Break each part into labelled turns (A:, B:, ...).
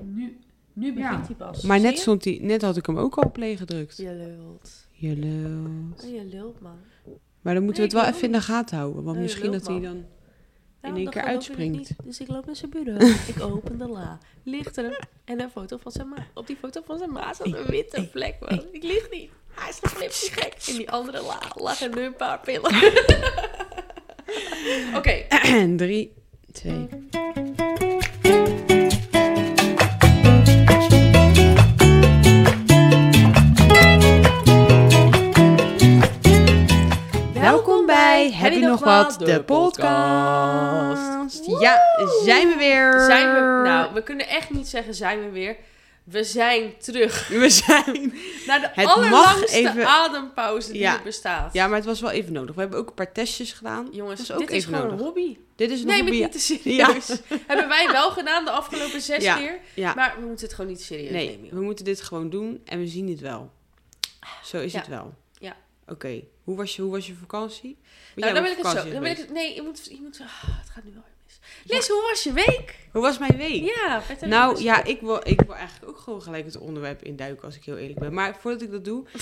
A: Nu, nu begint
B: Ja.
A: hij pas.
C: Maar net,
A: Zie
C: stond die, net had ik hem ook al op play gedrukt.
D: Je lult.
C: Je lult.
D: Oh, je lult, man.
C: Maar dan moeten
A: Nee, Oh,
C: we
A: ik wil
C: het wel even in de gaten houden. Want
D: Nee,
C: misschien dat hij
D: lulman.
C: dan...
D: Nou,
C: één
D: dan
C: keer
D: geloof ik het
C: uitspringt.
D: niet. Dus ik loop naar zijn bureau. ik open de la. Ligt er en een foto van zijn ma. Op die foto van zijn ma zat een witte vlek, man. Ik lieg niet. Hij is geflipt, die gek. In die andere la lagen nu een paar pillen. Oké.
C: Drie, twee... Welkom bij Heb je nog wat? De podcast. Ja, zijn we weer.
A: Zijn we, nou, we kunnen echt niet zeggen zijn we weer. We zijn terug
C: We zijn.
A: naar de
C: Het mag
A: allerlangste
C: even-
A: adempauze die
C: Ja.
A: er bestaat.
C: Ja, maar het was wel even nodig. We hebben ook een paar testjes gedaan.
A: Jongens,
C: Dat was ook
A: dit is
C: even
A: gewoon
C: nodig.
A: een hobby.
C: Dit is een
A: Nee, maar
C: hobby.
A: niet te serieus. Hebben wij wel gedaan de afgelopen zes
C: Ja.
A: keer.
C: Ja,
A: Maar we moeten het gewoon niet serieus
C: nee,
A: nemen. joh.
C: we moeten dit gewoon doen en we zien het wel. Zo is
A: Ja.
C: het wel.
A: Ja.
C: Oké, hoe, was je, hoe was je vakantie? Want
A: Nou,
C: jij
A: dan wil
C: bent
A: ik
C: op
A: het zo.
C: vakantie
A: Dan wil ik
C: geweest.
A: het, nee, je moet, je moet, ah, het gaat nu wel weer mis. Liz, hoe was je week?
C: Hoe was mijn week?
A: Ja, vertel
C: Nou
A: eens.
C: ja, ik wil, ik wil eigenlijk ook gewoon gelijk het onderwerp induiken, als ik heel eerlijk ben. Maar voordat ik dat doe, eh,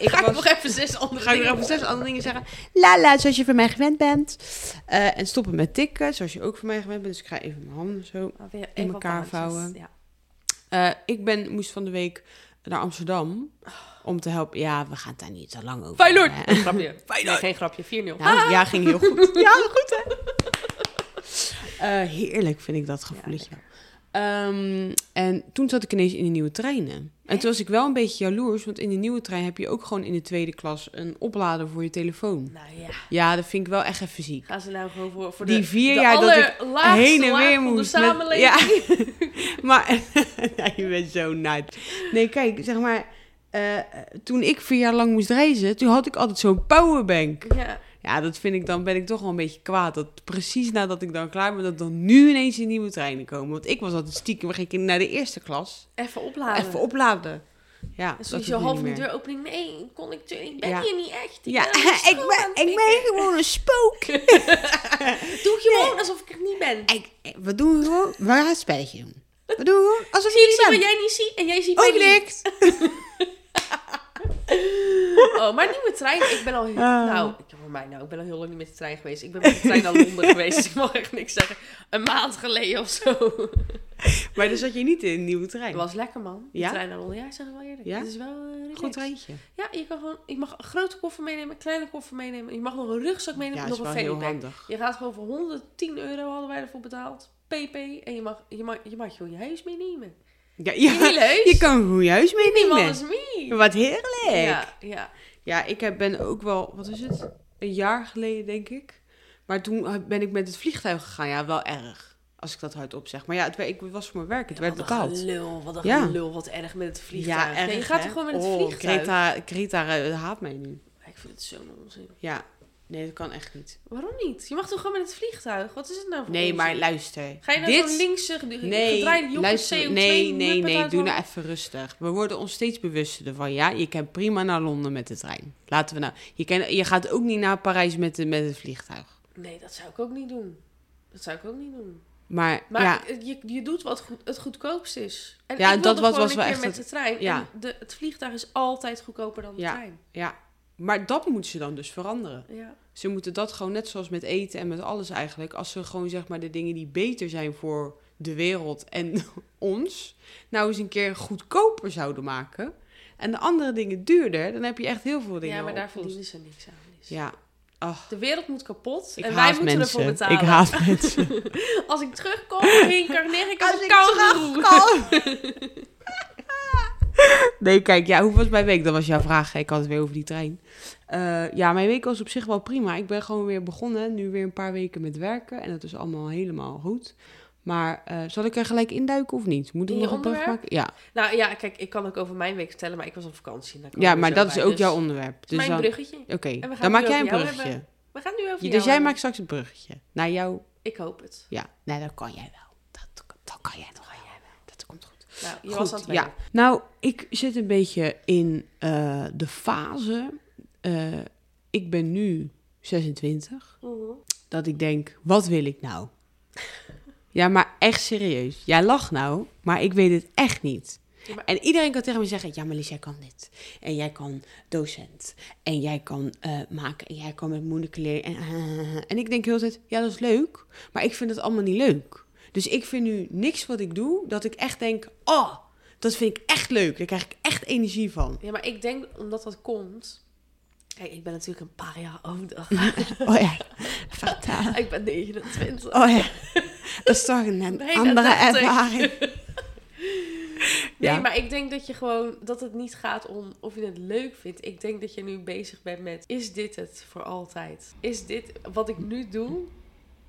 C: ik
A: Ga ik
C: was...
A: nog even zes andere
C: ga ik nog
A: dingen
C: even zes andere dingen zeggen. La la, zoals je van mij gewend bent. Eh, en stoppen met tikken, zoals je ook van mij gewend bent. Dus ik ga even mijn handen zo.
A: Oh, weer
C: in
A: even
C: elkaar
A: op de handjes.
C: vouwen.
A: Ja.
C: Eh, ik ben, moest van de week naar Amsterdam om te helpen. Ja, we gaan het daar niet te lang over
A: Feyenoord!
C: hebben, hè.
A: grapje. Nee, geen grapje. 4-0.
C: Nou, ja, ging heel goed. Ja, goed hè? heerlijk vind ik dat gevoeletje. Ehm, en toen zat ik ineens in de nieuwe treinen. En toen was ik wel een beetje jaloers, want in de nieuwe trein heb je ook gewoon in de tweede klas een oplader voor je telefoon.
A: Nou ja,
C: Ja, dat vind ik wel echt even ziek.
A: gaan ze nou gewoon voor, voor
C: Die
A: de,
C: vier
A: de
C: jaar dat ik
A: allerlaagste
C: heen en
A: laag
C: weer
A: van de
C: moest. met-
A: samenleving.
C: ja. maar ja, je bent zo nat. Nee, kijk, zeg maar. eh, toen ik vier jaar lang moest reizen, toen had ik altijd zo'n powerbank.
A: Ja.
C: Ja, dat vind ik dan, ben ik toch wel een beetje kwaad. Dat precies nadat ik dan klaar ben, dat dan nu ineens die nieuwe treinen komen. Want ik was altijd stiekem, ging ik naar de eerste klas.
A: Even opladen.
C: Even opladen. Ja,
A: En
C: dat
A: zo
C: hoeft nu
A: half in de
C: niet meer.
A: deuropening. Nee, kon ik, tu- ik ben
C: Ja.
A: hier niet echt.
C: Ja,
A: hier aan
C: ik
A: het
C: ben, ik ben
A: pikken.
C: gewoon een spook.
A: Doe gewoon alsof ik er niet ben.
C: Ik, we doen gewoon, we gaan het spelletje doen. We doen gewoon alsof
A: Zie, ik
C: je
A: zie wat
C: niet Oh,
A: jij niet ziet en jij ziet
C: bent.
A: mij
C: Ook
A: niet.
C: niks.
A: Oh, maar nieuwe trein. Ik ben al heel...
C: Ah.
A: Nou, ik, voor mij nou, ik ben al heel lang niet met de trein geweest. Ik ben met de trein naar Londen geweest. Dus ik mag echt niks zeggen. Een maand geleden of zo.
C: Maar dan zat je niet in een nieuwe
A: Het
C: trein.
A: was lekker, man. De
C: Ja?
A: trein naar Londen. Ja, ik zeg het wel eerlijk.
C: Ja?
A: Het is wel eh, relaxed.
C: Goed treintje.
A: Ja, je kan gewoon... Je mag een grote koffer meenemen, een kleine koffer meenemen. Je mag nog een rugzak meenemen,
C: Ja,
A: en
C: is
A: nog
C: wel
A: een
C: heel
A: fannypack.
C: handig.
A: Je gaat gewoon voor 110 euro hadden wij ervoor betaald. PP. En je mag, je mag, je mag gewoon je huis meenemen.
C: Ja,
A: Je hele
C: ja,
A: huis.
C: je kan goed juist
A: Niemand
C: meenemen.
A: is mee.
C: Wat heerlijk.
A: Ja, ja.
C: Ja, ik heb, ben ook wel, wat is het? Een jaar geleden, denk ik. Maar toen ben ik met het vliegtuig gegaan. Ja, wel erg. Als ik dat hardop zeg. Maar ja, het, wer- ik was voor mijn werk. Het werd
A: wat
C: betaald.
A: Een gelul, wat een
C: Ja.
A: gelul, wat erg met het vliegtuig.
C: Ja, erg,
A: nee, je gaat
C: hè?
A: er gewoon met het
C: oh,
A: vliegtuig.
C: Greta, Greta eh, haat mij nu.
A: Ik vind het zo'n onzin.
C: Ja. Nee, dat kan echt niet.
A: Waarom niet? Je mag toch gewoon met het vliegtuig? Wat is het nou voor
C: Nee,
A: onzin?
C: maar luister.
A: Ga je nou
C: dit...
A: zo'n linkse ge- gedraaide
C: Nee,
A: joppe
C: luister,
A: CO2
C: nee, nee,
A: muppet
C: nee,
A: uit
C: doe
A: Londen?
C: nou even rustig. We worden ons steeds bewuster ervan. Ja, je kan prima naar Londen met de trein. Laten we nou. Je, kan, je gaat ook niet naar Parijs met, de, met het vliegtuig.
A: Nee, dat zou ik ook niet doen. Dat zou ik ook niet doen.
C: Maar,
A: Maar
C: ja,
A: het- je, je doet wat goed, het goedkoopst is. En
C: Ja,
A: ik wilde
C: dat was-
A: gewoon
C: was
A: een
C: wel
A: keer
C: echt
A: met
C: het-
A: de trein.
C: ja.
A: En de, het vliegtuig is altijd goedkoper dan de
C: Ja.
A: trein.
C: ja. maar dat moeten ze dan dus veranderen.
A: Ja.
C: Ze moeten dat gewoon net zoals met eten en met alles eigenlijk. Als ze gewoon zeg maar de dingen die beter zijn voor de wereld en ons, nou eens een keer goedkoper zouden maken. En de andere dingen duurder, dan heb je echt heel veel dingen.
A: ja, maar daar
C: opgelost.
A: verdienen ze niks aan. Lies.
C: Ja. Ach,
A: De wereld moet kapot
C: ik
A: en wij
C: haat
A: moeten
C: mensen.
A: ervoor betalen.
C: Ik haat mensen.
A: Als ik terugkom, reïncarneer ik als, een kangoeroe.
C: Nee, kijk, ja, hoe was mijn week? Dat was jouw vraag. hè? Ik had het weer over die trein. Eh, ja, mijn week was op zich wel prima. Ik ben gewoon weer begonnen. Nu weer een paar weken met werken. En dat is allemaal helemaal goed. Maar eh, zal ik er gelijk induiken of niet? Moet ik
A: In je
C: nog een brug
A: onderwerp?
C: maken? Ja,
A: Nou ja, kijk, ik kan ook over mijn week vertellen, maar ik was op vakantie. Daar komen
C: ja
A: we
C: maar
A: zo
C: dat
A: bij.
C: is ook
A: Dus
C: jouw onderwerp. Dus
A: mijn
C: dan-
A: bruggetje.
C: Oké,
A: we gaan
C: dan
A: het
C: maak
A: nu
C: jij een
A: over jou
C: bruggetje.
A: We gaan het nu over
C: Je-
A: jou
C: Dus jij
A: hebben.
C: maakt straks een bruggetje. Naar jou.
A: Ik hoop het.
C: Ja, nee, dat kan jij wel. Dat, dat kan jij nog wel. Dat komt goed.
A: Nou, je
C: Goed,
A: was aan het
C: ja.
A: werk.
C: Nou, ik zit een beetje in eh, de fase. eh, ik ben nu 26.
A: Mhm.
C: Dat ik denk, wat wil ik nou? Ja, maar echt serieus. Jij lacht nou, maar ik weet het echt niet.
A: Ja, maar-
C: En iedereen kan tegen me zeggen, ja, maar Lies, jij kan dit. En jij kan docent. En jij kan eh, maken. En jij kan met moeilijke leren. En, en ik denk heel de tijd, ja, dat is leuk. Maar ik vind het allemaal niet leuk. Dus ik vind nu niks wat ik doe, dat ik echt denk, oh, dat vind ik echt leuk. Daar krijg ik echt energie van.
A: Ja, maar ik denk omdat dat komt. Kijk, ik ben natuurlijk een paar jaar ouder.
C: Oh ja, fataal.
A: ik ben 29.
C: Oh ja, dat is toch een
A: Nee, dat
C: andere
A: dacht ik.
C: ervaring.
A: Nee,
C: Ja.
A: maar ik denk dat je gewoon dat het niet gaat om of je het leuk vindt. Ik denk dat je nu bezig bent met is dit het voor altijd? Is dit wat ik nu doe?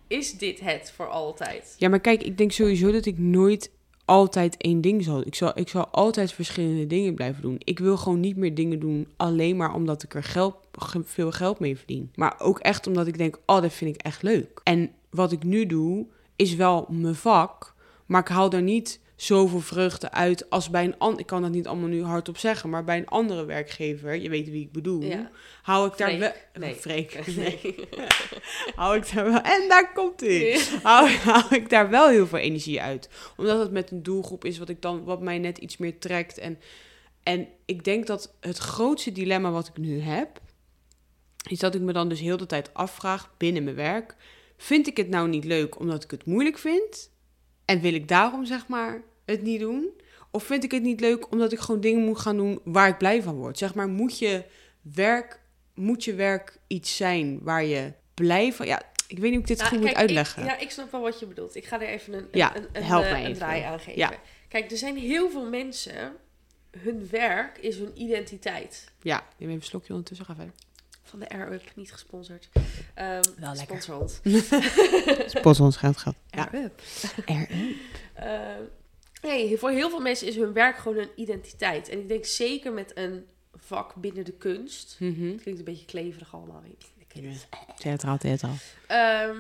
A: Is dit het voor altijd?
C: Ja, maar kijk, ik denk sowieso dat ik nooit altijd één ding zal. Ik zal, ik zal altijd verschillende dingen blijven doen. Ik wil gewoon niet meer dingen doen alleen maar omdat ik er geld, ge- veel geld mee verdien. Maar ook echt omdat ik denk, oh, dat vind ik echt leuk. En wat ik nu doe, is wel mijn vak, maar ik haal daar niet zoveel vreugde uit als bij een ander. Ik kan dat niet allemaal nu hardop zeggen, maar bij een andere werkgever, je weet wie ik bedoel,
A: Ja.
C: hou ik daar
A: Freek.
C: wel...
A: Nee.
C: Freek. Nee. dus
A: Nee.
C: Hou ik daar wel... En daar komt hij hou, hou ik daar wel heel veel energie uit. Omdat het met een doelgroep is wat, ik dan, wat mij net iets meer trekt. En, en ik denk dat het grootste dilemma wat ik nu heb, is dat ik me dan dus heel de tijd afvraag binnen mijn werk: vind ik het nou niet leuk omdat ik het moeilijk vind? En wil ik daarom zeg maar het niet doen? Of vind ik het niet leuk omdat ik gewoon dingen moet gaan doen waar ik blij van word? Zeg maar, moet je werk, moet je werk iets zijn waar je blij van... Ja, ik weet niet hoe ik dit
A: Nou,
C: goed
A: kijk,
C: moet uitleggen.
A: Ik, ja, ik snap wel wat je bedoelt. Ik ga er even een,
C: Ja,
A: een, een,
C: help
A: eh,
C: mij
A: een
C: even.
A: draai aan geven.
C: Ja.
A: Kijk, er zijn heel veel mensen, hun werk is hun identiteit.
C: Ja, neem even een slokje ondertussen. Ga verder.
A: Van de Air Up, niet gesponsord. Ehm,
C: Wel
A: wel
C: lekker.
A: lekker.
C: Spot ons geld gehad. Ja.
A: Air-up. Ehm, nee, voor heel veel mensen is hun werk gewoon hun identiteit. En ik denk zeker met een vak binnen de kunst.
C: Mhm.
A: Het klinkt een beetje kleverig allemaal. De kunst.
C: Theatraal, theatraal.
A: Ehm,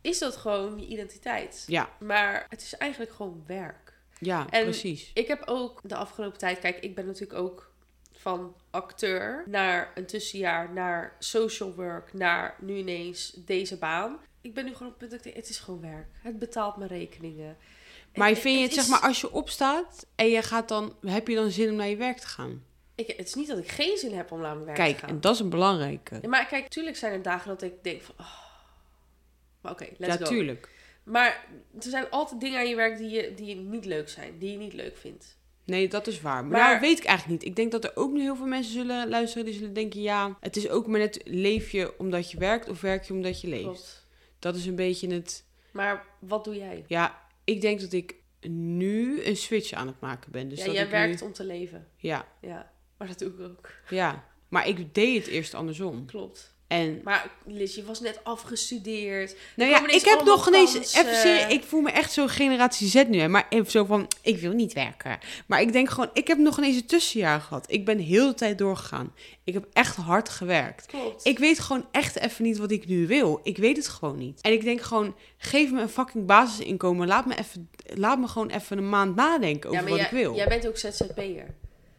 A: is dat gewoon je identiteit?
C: Ja,
A: Maar het is eigenlijk gewoon werk.
C: ja
A: En-
C: precies.
A: Ik heb ook de afgelopen tijd, kijk, ik ben natuurlijk ook van acteur naar een tussenjaar, naar social work, naar nu ineens deze baan. Ik ben nu gewoon op het punt dat ik denk, het is gewoon werk. Het betaalt mijn rekeningen.
C: Maar
A: En-
C: vind je het, zeg
A: is-
C: maar, als je opstaat en je gaat dan, heb je dan zin om naar je werk te gaan?
A: Ik, het is niet dat ik geen zin heb om naar mijn werk te
C: Kijk,
A: gaan.
C: en dat is een belangrijke.
A: Ja, maar kijk, tuurlijk zijn er dagen dat ik denk van... Oh, maar oké, let's
C: Ja,
A: go.
C: tuurlijk.
A: Maar er zijn altijd dingen aan je werk die je, die je niet leuk zijn. Die je niet leuk vindt.
C: Nee, dat is waar. Maar,
A: Maar-
C: nou, weet ik eigenlijk niet. Ik denk dat er ook nu heel veel mensen zullen luisteren die zullen denken, ja, het is ook maar net, leef je omdat je werkt of werk je omdat je leeft?
A: Klopt.
C: Dat is een beetje het,
A: Maar wat doe jij?
C: ja, ik denk dat ik nu een switch aan het maken ben. Dus
A: ja,
C: dat
A: jij
C: ik
A: werkt
C: Nu,
A: om te leven.
C: ja,
A: Ja, maar dat doe ik ook.
C: ja. Maar ik deed het eerst andersom.
A: Klopt.
C: En
A: Maar Liz, je was net afgestudeerd.
C: Nou
A: Er
C: ja,
A: komen ineens
C: ik heb
A: allemaal
C: nog ineens...
A: kansen.
C: Even serieus, ik voel me echt zo'n generatie Z nu. Hè, maar even zo van, ik wil niet werken. Maar ik denk gewoon, ik heb nog ineens een tussenjaar gehad. Ik ben heel de tijd doorgegaan. Ik heb echt hard gewerkt.
A: Klopt.
C: Ik weet gewoon echt even niet wat ik nu wil. Ik weet het gewoon niet. En ik denk gewoon, geef me een fucking basisinkomen. Laat me, even, laat me gewoon even een maand nadenken over
A: maar
C: wat
A: jij,
C: ik wil.
A: jij bent ook ZZP'er.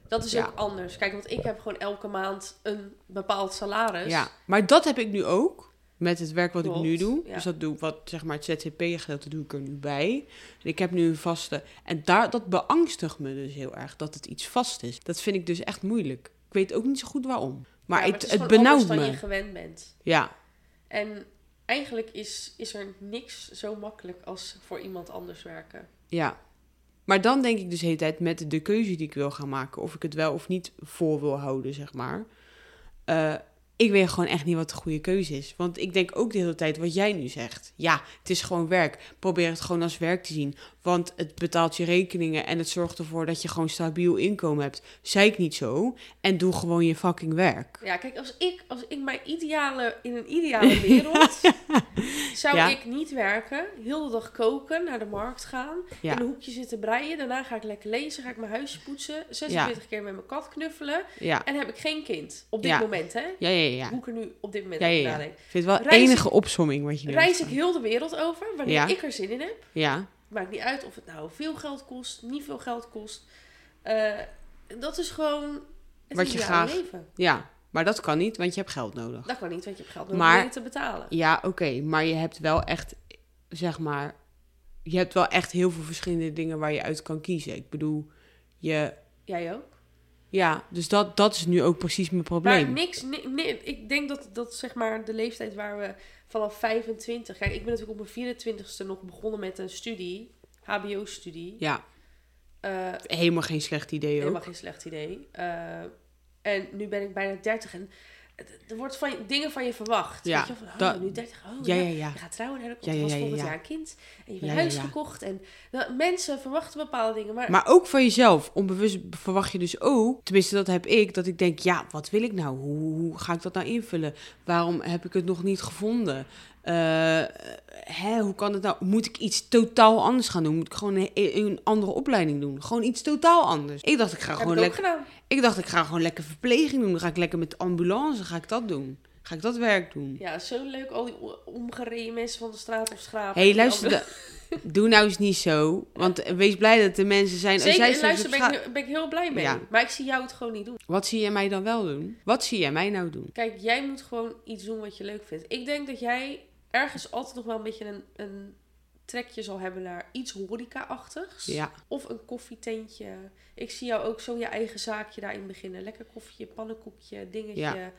A: Dat is
C: Ja.
A: ook anders. Kijk, want ik heb gewoon elke maand een bepaald salaris.
C: Ja, maar dat heb ik nu ook. Met het werk wat ik nu
A: Klopt,
C: doe.
A: ja.
C: Dus dat doe ik wat, zeg maar, het ZZP-gedeelte doe ik er nu bij. En ik heb nu een vaste. En daar, dat beangstigt me dus heel erg, dat het iets vast is. Dat vind ik dus echt moeilijk. Ik weet ook niet zo goed waarom. Maar,
A: Ja,
C: het,
A: is
C: het,
A: gewoon
C: benauwt
A: anders
C: me.
A: dan je gewend bent.
C: Ja,
A: En eigenlijk is, is er niks zo makkelijk als voor iemand anders werken.
C: ja. Maar dan denk ik dus de hele tijd met de keuze die ik wil gaan maken. Of ik het wel of niet voor wil houden, zeg maar. Eh, ik weet gewoon echt niet wat de goede keuze is. Want ik denk ook de hele tijd wat jij nu zegt. Ja, het is gewoon werk. Probeer het gewoon als werk te zien. Want het betaalt je rekeningen en het zorgt ervoor dat je gewoon stabiel inkomen hebt. Zei ik niet zo. En doe gewoon je fucking werk.
A: Ja, kijk, als ik, als ik mijn ideale, in een ideale wereld, zou
C: Ja.
A: ik niet werken, heel de dag koken, naar de markt gaan,
C: Ja.
A: in een hoekje zitten breien, daarna ga ik lekker lezen, ga ik mijn huisje poetsen, 46 keer met mijn kat knuffelen
C: Ja,
A: en heb ik geen kind. Op dit
C: Ja.
A: moment, hè?
C: ja, ja, ja.
A: Hoe ik er nu op dit moment
C: Ja, ja,
A: over
C: ja.
A: nadenk.
C: Ik vind het wel
A: Reis ik-
C: enige opsomming wat je nu
A: Reis
C: hebt
A: ik heel de wereld over, wanneer
C: Ja.
A: ik er zin in heb.
C: gedaan. Ja,
A: Maakt niet uit of het nou veel geld kost, niet veel geld kost. Eh, dat is gewoon het
C: Wat je
A: ideale
C: graag-
A: leven.
C: ja. Maar dat kan niet, want je hebt geld nodig.
A: Dat kan niet, want je hebt geld nodig
C: Maar-
A: om dingen te betalen.
C: Ja, oké, maar je hebt wel echt, zeg maar, je hebt wel echt heel veel verschillende dingen waar je uit kan kiezen. Ik bedoel, je,
A: Jij ook?
C: ja, dus dat, dat is nu ook precies mijn probleem.
A: Maar niks, ni- ni- ik denk dat, dat zeg maar de leeftijd waar we vanaf 25... Kijk, ik ben natuurlijk op mijn 24ste nog begonnen met een studie, hbo-studie.
C: Ja,
A: Eh,
C: helemaal geen slecht idee ook.
A: helemaal geen slecht idee. Eh, en nu ben ik bijna 30 en het- er wordt van je- dingen van je verwacht.
C: Ja,
A: Weet je, van, oh,
C: dat-
A: nu 30, oh,
C: ja,
A: ja.
C: ja, ja.
A: Je gaat trouwen en dan komt
C: Ja,
A: er
C: ja,
A: pas
C: ja, ja,
A: volgend
C: ja.
A: jaar een kind. En je hebt
C: Ja,
A: een
C: ja,
A: huis
C: ja.
A: gekocht. En nou, mensen verwachten bepaalde dingen. Maar,
C: Maar ook van jezelf. Onbewust verwacht je dus ook, tenminste dat heb ik, dat ik denk, ja, wat wil ik nou? Hoe, hoe ga ik dat nou invullen? Waarom heb ik het nog niet gevonden? Eh, hè, hoe kan het nou? Moet ik iets totaal anders gaan doen? Moet ik gewoon een, een andere opleiding doen? Gewoon iets totaal anders. Ik dacht, ik ga,
A: heb ik
C: gewoon
A: ook
C: lekker,
A: gedaan.
C: ik dacht, ik ga gewoon lekker verpleging doen. Dan ga ik lekker met de ambulance, ga ik dat doen? Ga ik dat werk doen?
A: Ja, zo leuk. Al die o- omgereden mensen van de straat of schrapen.
C: Hé, hey,
A: Die
C: luister,
A: andere-
C: da- doe nou eens niet zo. Want eh, wees blij dat de mensen zijn...
A: Zeker,
C: zij
A: en
C: zijn
A: luister,
C: zo
A: ben
C: scha-
A: ik, ben ik heel blij mee.
C: Ja.
A: Maar ik zie jou het gewoon niet doen.
C: Wat zie jij mij dan wel doen? Wat zie jij mij nou doen?
A: Kijk, jij moet gewoon iets doen wat je leuk vindt. Ik denk dat jij ergens altijd nog wel een beetje een, een trekje zal hebben naar iets horeca-achtigs.
C: Ja,
A: Of een koffietentje. Ik zie jou ook zo je eigen zaakje daarin beginnen. Lekker koffietje, pannenkoekje, dingetje.
C: Ja.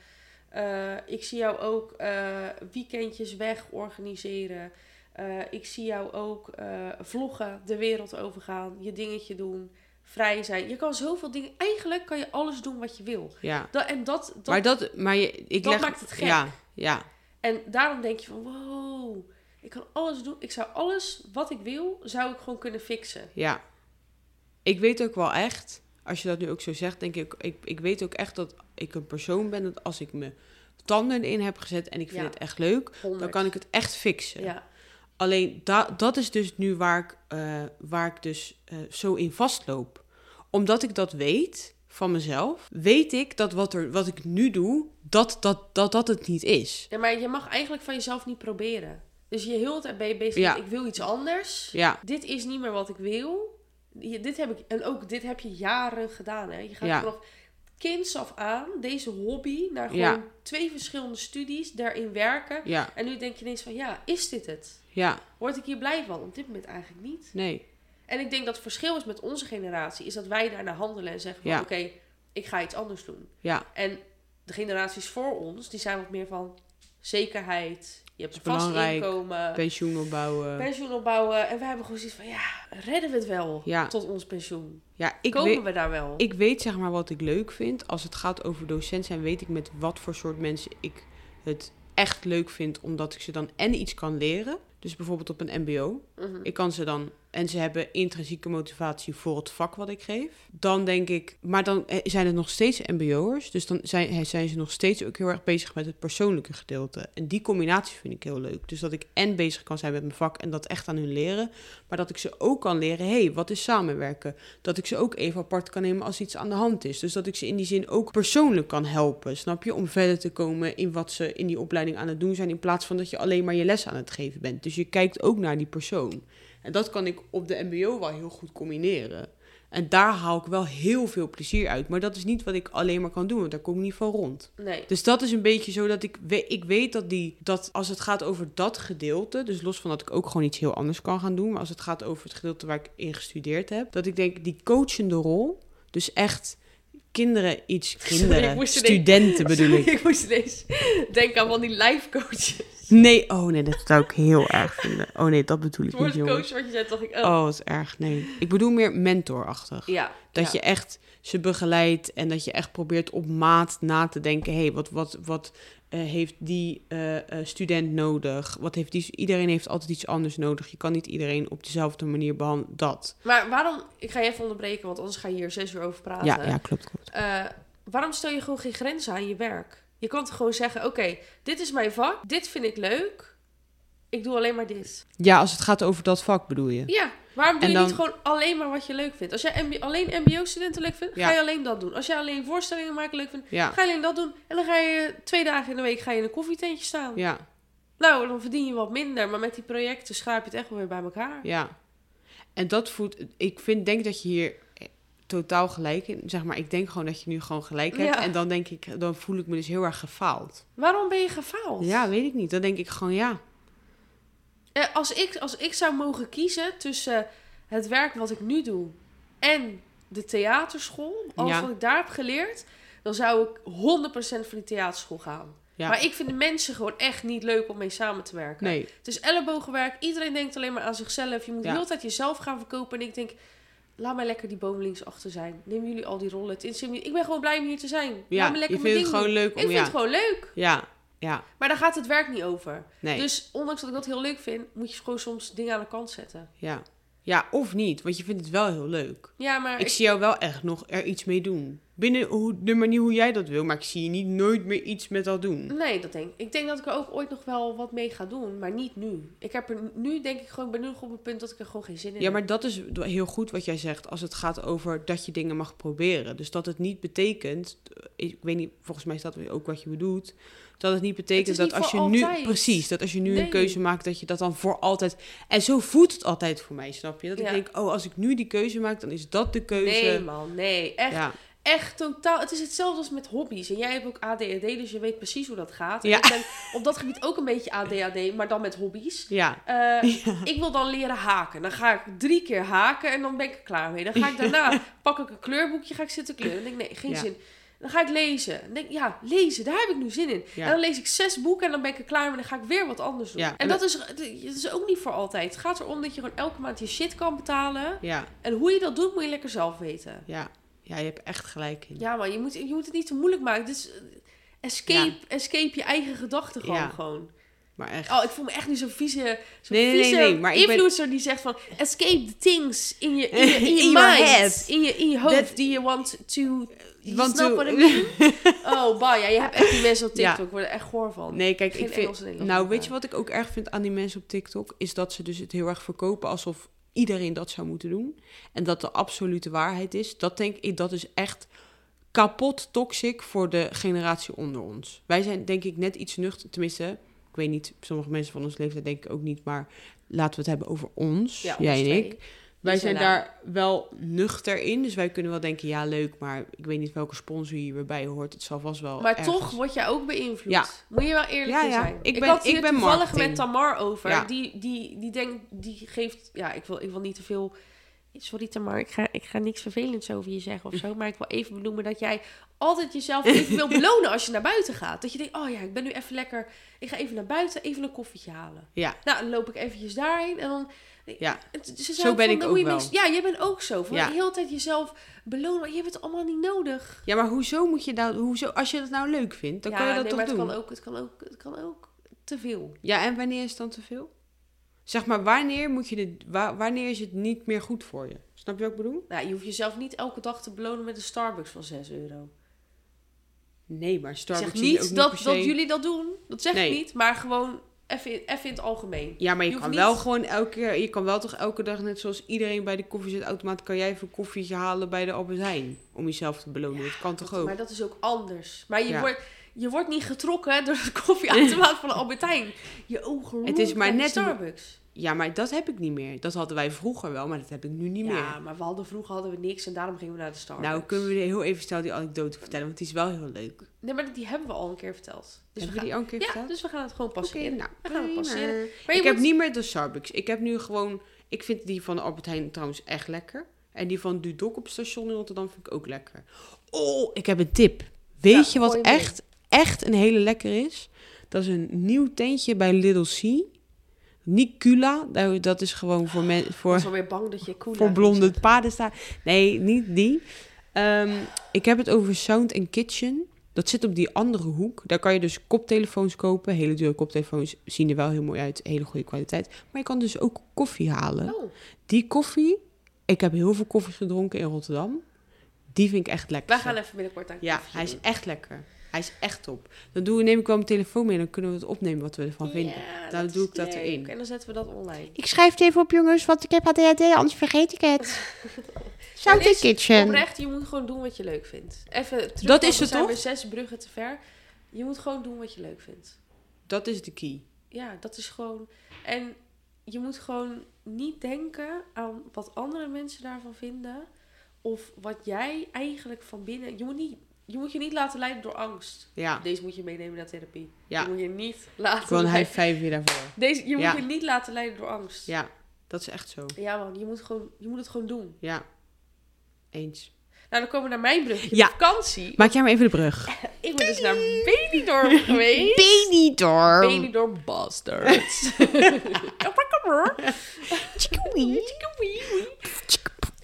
A: Eh, ik zie jou ook eh, weekendjes weg organiseren. Eh, ik zie jou ook eh, vloggen, de wereld overgaan, je dingetje doen, vrij zijn. Je kan zoveel dingen. Eigenlijk kan je alles doen wat je wil.
C: ja.
A: Dat, en, dat, dat,
C: maar dat, maar je, ik
A: dat
C: leg,
A: maakt het gek.
C: Ja, ja,
A: en daarom denk je van wow, ik kan alles doen. Ik zou alles wat ik wil, zou ik gewoon kunnen fixen.
C: ja. Ik weet ook wel echt, als je dat nu ook zo zegt, denk ik, ik, ik weet ook echt dat ik een persoon ben dat als ik me tanden in heb gezet en ik vind
A: Ja.
C: het echt leuk,
A: 100.
C: dan kan ik het echt fixen.
A: Ja,
C: Alleen da- dat is dus nu waar ik, eh, waar ik dus eh, zo in vastloop. Omdat ik dat weet van mezelf, weet ik dat wat, er, wat ik nu doe, dat dat, dat, dat het niet is.
A: Ja, maar je mag eigenlijk van jezelf niet proberen. Dus je heel de tijd ben je bezig
C: Ja.
A: met ik wil iets anders.
C: Ja,
A: Dit is niet meer wat ik wil. Je- dit heb ik, en ook dit heb je jaren gedaan. Hè? Je gaat
C: Ja.
A: vanaf kinds af aan deze hobby naar gewoon
C: Ja.
A: twee verschillende studies, daarin werken.
C: ja,
A: En nu denk je ineens van ja, is dit het?
C: ja,
A: Word ik hier blij van? Op dit moment eigenlijk niet.
C: nee,
A: En ik denk dat het verschil is met onze generatie, is dat wij daarna handelen en zeggen van
C: Ja.
A: oké, ik ga iets anders doen.
C: ja.
A: En de generaties voor ons, die zijn wat meer van zekerheid. Je hebt een
C: Dat is
A: vast
C: belangrijk.
A: inkomen,
C: Pensioen opbouwen.
A: pensioen opbouwen. En wij hebben gewoon zoiets van, ja, redden we het wel
C: Ja.
A: tot ons pensioen?
C: Ja, ik
A: Komen
C: weet,
A: we daar wel?
C: ik weet zeg maar wat ik leuk vind. Als het gaat over docent zijn, weet ik met wat voor soort mensen ik het echt leuk vind. Omdat ik ze dan en iets kan leren. Dus bijvoorbeeld op een mbo.
A: Mhm.
C: Ik kan ze dan. En ze hebben intrinsieke motivatie voor het vak wat ik geef. Dan denk ik. Maar dan eh, zijn het nog steeds MBO'ers. Dus dan zijn, eh, zijn ze nog steeds ook heel erg bezig met het persoonlijke gedeelte. En die combinatie vind ik heel leuk. Dus dat ik en bezig kan zijn met mijn vak en dat echt aan hun leren. Maar dat ik ze ook kan leren. hey, wat is samenwerken? Dat ik ze ook even apart kan nemen als iets aan de hand is. Dus dat ik ze in die zin ook persoonlijk kan helpen. Snap je? Om verder te komen in wat ze in die opleiding aan het doen zijn. In plaats van dat je alleen maar je les aan het geven bent. Dus je kijkt ook naar die persoon. En dat kan ik op de MBO wel heel goed combineren. En daar haal ik wel heel veel plezier uit. Maar dat is niet wat ik alleen maar kan doen, want daar kom ik niet van rond.
A: Nee.
C: Dus dat is een beetje zo dat ik, we- ik weet dat, die, dat als het gaat over dat gedeelte, dus los van dat ik ook gewoon iets heel anders kan gaan doen, maar als het gaat over het gedeelte waar ik in gestudeerd heb, dat ik denk die coachende rol, dus echt kinderen iets,
A: Sorry, ik
C: kinderen,
A: moest er denken.
C: studenten bedoel ik.
A: ik moest ineens denken aan van die life coaches.
C: Nee, oh nee, dat zou ik heel erg vinden. Oh nee, dat bedoel
A: Het
C: ik niet,
A: woord
C: jongens.
A: coach wat je zei, dacht ik, oh.
C: Oh, wat erg. Nee. Ik bedoel meer mentorachtig.
A: Ja.
C: Dat je echt ze begeleidt en dat je echt probeert op maat na te denken. Hé, hey, wat, wat, wat eh, heeft die eh, eh, student nodig? Wat heeft die, iedereen heeft altijd iets anders nodig. Je kan niet iedereen op dezelfde manier behandelen. Dat.
A: Maar waarom, ik ga je even onderbreken, want anders ga je hier zes uur over praten.
C: Ja, ja, klopt, klopt.
A: Eh, waarom stel je gewoon geen grenzen aan je werk? Je kan toch gewoon zeggen, oké, dit is mijn vak, dit vind ik leuk, ik doe alleen maar dit.
C: Ja, als het gaat over dat vak bedoel je.
A: Ja, waarom doe
C: En
A: je
C: dan-
A: niet gewoon alleen maar wat je leuk vindt? Als jij MB alleen mbo-studenten leuk vindt,
C: Ja.
A: ga je alleen dat doen. Als jij alleen voorstellingen maken leuk vindt,
C: Ja,
A: ga je alleen dat doen. En dan ga je twee dagen in de week ga je in een koffietentje staan.
C: ja,
A: Nou, dan verdien je wat minder. Maar met die projecten schaap je het echt wel weer bij elkaar.
C: ja. En dat voelt... Ik vind, denk dat je hier eh, totaal gelijk in... Zeg maar, ik denk gewoon dat je nu gewoon gelijk hebt.
A: Ja.
C: En dan denk ik... Dan voel ik me dus heel erg gefaald.
A: Waarom ben je gefaald?
C: Ja, weet ik niet. Dan denk ik gewoon ja.
A: Eh, als, ik, als ik zou mogen kiezen tussen het werk wat ik nu doe en de theaterschool, alles
C: Ja.
A: wat ik daar heb geleerd, dan zou ik 100% voor die theaterschool gaan.
C: Ja.
A: Maar ik vind de mensen gewoon echt niet leuk om mee samen te werken.
C: Nee,
A: Het is ellebogenwerk, iedereen denkt alleen maar aan zichzelf. Je moet
C: Ja.
A: de hele tijd jezelf gaan verkopen. En ik denk, laat mij lekker die boom links achter zijn. Neem jullie al die rollen. Het interesseert me niet. Ik ben gewoon blij om hier te zijn.
C: ja,
A: laat me
C: je vindt
A: lekker
C: het
A: mijn ding
C: gewoon
A: doen.
C: leuk
A: Ik
C: om,
A: vind
C: ja.
A: het gewoon leuk.
C: Ja, ja,
A: Maar daar gaat het werk niet over.
C: nee,
A: Dus ondanks dat ik dat heel leuk vind, moet je gewoon soms dingen aan de kant zetten.
C: ja. Ja, of niet, want je vindt het wel heel leuk.
A: Ja, maar
C: Ik
A: ik,
C: zie jou wel echt nog er iets mee doen. Binnen hoe, de manier hoe jij dat wil, maar ik zie je niet nooit meer iets met dat doen.
A: nee, dat denk ik. Ik denk dat ik er ook ooit nog wel wat mee ga doen, maar niet nu. Ik heb er nu, denk ik, gewoon ik ben nu nog op het punt dat ik er gewoon geen zin in
C: Ja,
A: heb.
C: maar dat is heel goed wat jij zegt als het gaat over dat je dingen mag proberen. Dus dat het niet betekent, eh, ik weet niet, volgens mij is dat ook wat je bedoelt, dat het niet betekent
A: Het is
C: dat
A: niet
C: als je
A: voor
C: nu,
A: altijd.
C: precies, dat als je nu een
A: Nee.
C: keuze maakt, dat je dat dan voor altijd, en zo voelt het altijd voor mij, snap je? Dat ik
A: Ja.
C: denk, oh, als ik nu die keuze maak, dan is dat de keuze.
A: Nee, man, nee. Echt
C: ja.
A: Echt totaal. Het is hetzelfde als met hobby's. En jij hebt ook ADHD, dus je weet precies hoe dat gaat. En
C: Ja.
A: Ik ben op dat gebied ook een beetje ADHD, maar dan met hobby's.
C: ja,
A: Eh, Ik wil dan leren haken. Dan ga ik drie keer haken en dan ben ik er klaar mee. Dan ga ik daarna, pak ik een kleurboekje, ga ik zitten kleuren. Dan denk ik, nee, geen
C: Ja.
A: zin. Dan ga ik lezen. Dan denk ik, ja, lezen, daar heb ik nu zin in.
C: Ja.
A: En dan lees ik zes boeken en dan ben ik er klaar mee. Dan ga ik weer wat anders doen.
C: Ja, en
A: En dat is, dat is ook niet voor altijd. Het gaat erom dat je gewoon elke maand je shit kan betalen.
C: ja,
A: En hoe je dat doet, moet je lekker zelf weten.
C: ja. Ja, je hebt echt gelijk in.
A: Ja, maar je moet, je moet het niet te moeilijk maken. Dus eh, escape, escape je eigen gedachten gewoon,
C: Ja.
A: gewoon.
C: Maar echt.
A: Oh, ik voel me echt nu zo'n vieze, zo'n
C: Nee, nee, nee,
A: vieze
C: nee, maar ik ben-
A: influencer die zegt van... Escape the things in je, in je, in je
C: In your
A: mind.
C: head. Eh,
A: In je, in je hoofd. die je want to... You
C: Want
A: snap
C: to-
A: what I mean? Oh, bah, ja, je hebt echt die mensen op
C: Ja.
A: TikTok. Ik word er echt goor van.
C: Nee, kijk,
A: Geen
C: ik vind.
A: Engels en Nederlands
C: nou,
A: met
C: weet je
A: elkaar.
C: wat ik ook erg vind aan die mensen op TikTok? Is dat ze dus het heel erg verkopen alsof iedereen dat zou moeten doen. En dat de absolute waarheid is. Dat denk ik, dat is echt kapot toxic voor de generatie onder ons. Wij zijn denk ik net iets nuchter, tenminste. Ik weet niet, sommige mensen van ons leeftijd denk ik ook niet, maar laten we het hebben over ons,
A: Ja, dus
C: jij
A: ons
C: en ik.
A: twee.
C: Wij
A: Die
C: zijn
A: zijn
C: daar wel nuchter in, dus wij kunnen wel denken, ja leuk, maar ik weet niet welke sponsor hierbij hoort. Het zal vast wel
A: Maar
C: ergens-
A: toch word jij ook beïnvloed.
C: Ja.
A: Moet je wel eerlijk
C: Ja,
A: in
C: ja.
A: zijn.
C: Ik
A: Ik,
C: ben-
A: had
C: ik
A: hier
C: ben
A: toevallig
C: marketing.
A: met Tamar over.
C: Ja.
A: Die, die, die denkt, die geeft... Ja, ik wil, ik wil niet te veel... Sorry Tamar, ik ga, ik ga niks vervelends over je zeggen of zo. Maar ik wil even benoemen dat jij altijd jezelf even wil belonen als je naar buiten gaat. Dat je denkt, oh ja, ik ben nu even lekker... Ik ga even naar buiten, even een koffietje halen.
C: Ja.
A: Nou, dan loop ik eventjes daarheen en dan...
C: Ja.
A: Het- Ze zei
C: ben
A: van,
C: ik
A: dan
C: ook
A: moet je
C: wel.
A: niks- Ja, jij bent ook zo. Van
C: Ja.
A: de hele tijd jezelf belonen. maar Je hebt het allemaal niet nodig.
C: Ja, maar hoezo moet je nou, hoezo, als je dat nou leuk vindt, dan kan je dat
A: nee,
C: toch
A: maar
C: doen?
A: Het kan ook, het kan ook, het kan ook te veel.
C: Ja, en wanneer is het dan te veel? Zeg maar, wanneer, moet je dit, wa- wanneer is het niet meer goed voor je? Snap je wat ik bedoel?
A: Nou, je hoeft jezelf niet elke dag te belonen met een Starbucks van 6 euro.
C: Nee, maar
A: Ik
C: Starbucks
A: zeg
C: is
A: niet,
C: ook
A: dat,
C: per se-
A: dat jullie dat doen. Dat zeg
C: Nee.
A: ik niet. Maar gewoon even in, even in het algemeen.
C: Ja, maar je,
A: je hoeft
C: kan wel
A: niet-
C: gewoon elke keer... Je kan wel toch elke dag, net zoals iedereen bij de koffiezetautomaat... kan jij even een koffietje halen bij de Albert Heijn. Om jezelf te belonen. dat kan toch ook?
A: Maar dat is ook anders. Maar je,
C: Ja.
A: wordt, je wordt niet getrokken door het koffieautomaat van de Albert Heijn. Je ogen
C: Het is
A: roeren
C: maar
A: bij de
C: net hoe-
A: Starbucks.
C: Ja, maar dat heb ik niet meer. Dat hadden wij vroeger wel, maar dat heb ik nu niet
A: Ja,
C: meer.
A: maar we hadden, vroeger hadden we niks en daarom gingen we naar de Starbucks.
C: Nou, kunnen we heel even snel die anekdote vertellen, want die is wel heel leuk.
A: Nee, maar die hebben we al een keer verteld. Dus
C: Hebben we
A: we gaan...
C: die al een keer
A: Ja,
C: verteld?
A: dus we gaan het gewoon
C: Oké,
A: passeren.
C: nou,
A: We gaan het
C: prima.
A: passeren. Maar
C: Ik
A: je
C: heb
A: moet-
C: niet meer de Starbucks. Ik heb nu gewoon... Ik vind die van de Albert Heijn trouwens echt lekker. En die van Dudok op het station in Rotterdam vind ik ook lekker. Oh, ik heb een tip. Weet
A: Ja,
C: je wat
A: gooi hem in.
C: echt, echt een hele lekker is? Dat is een nieuw tentje bij Little C. Nicula, nou, dat is gewoon voor, men,
A: Ik
C: voor,
A: was alweer bang dat je cool
C: voor blonde paden staan. Nee, niet die. Ehm, ik heb het over Sound and Kitchen. Dat zit op die andere hoek. Daar kan je dus koptelefoons kopen. Hele dure koptelefoons zien er wel heel mooi uit. Hele goede kwaliteit. Maar je kan dus ook koffie halen.
A: Oh.
C: Die koffie, ik heb heel veel koffie gedronken in Rotterdam. Die vind ik echt lekker.
A: Wij gaan even binnenkort aan
C: Ja,
A: koffie
C: hij is
A: doen.
C: echt lekker. Hij is echt top. Dan doe, neem ik wel mijn telefoon mee. Dan kunnen we het opnemen wat we ervan vinden.
A: Ja,
C: Dan doe
A: is
C: ik dat
A: leuk.
C: erin.
A: En dan zetten we dat online.
C: Ik schrijf het even op, jongens, want ik heb ADHD, anders vergeet ik het. Sound
A: Het
C: and
A: is
C: Kitchen.
A: Oprecht, je moet gewoon doen wat je leuk vindt. Even terug,
C: Dat
A: want
C: is
A: we
C: het,
A: zijn
C: toch?
A: weer zes bruggen te ver. Je moet gewoon doen wat je leuk vindt.
C: Dat is de key.
A: Ja, dat is gewoon... En je moet gewoon niet denken aan wat andere mensen daarvan vinden. Of wat jij eigenlijk van binnen... Je moet niet je moet je niet laten leiden door angst.
C: Ja,
A: Deze moet je meenemen naar therapie.
C: Ja.
A: Je moet je niet laten
C: gewoon high
A: leiden.
C: five weer daarvoor.
A: Deze, je moet
C: Ja.
A: je niet laten leiden door angst.
C: Ja, dat is echt zo.
A: Ja, man, je moet, gewoon, je moet het gewoon doen.
C: Ja, eens.
A: Nou, dan komen we naar mijn brugje.
C: Ja.
A: De vakantie.
C: Maak jij maar even de brug.
A: Ik ben dus naar Benidorm geweest.
C: Benidorm.
A: Benidorm Bastards.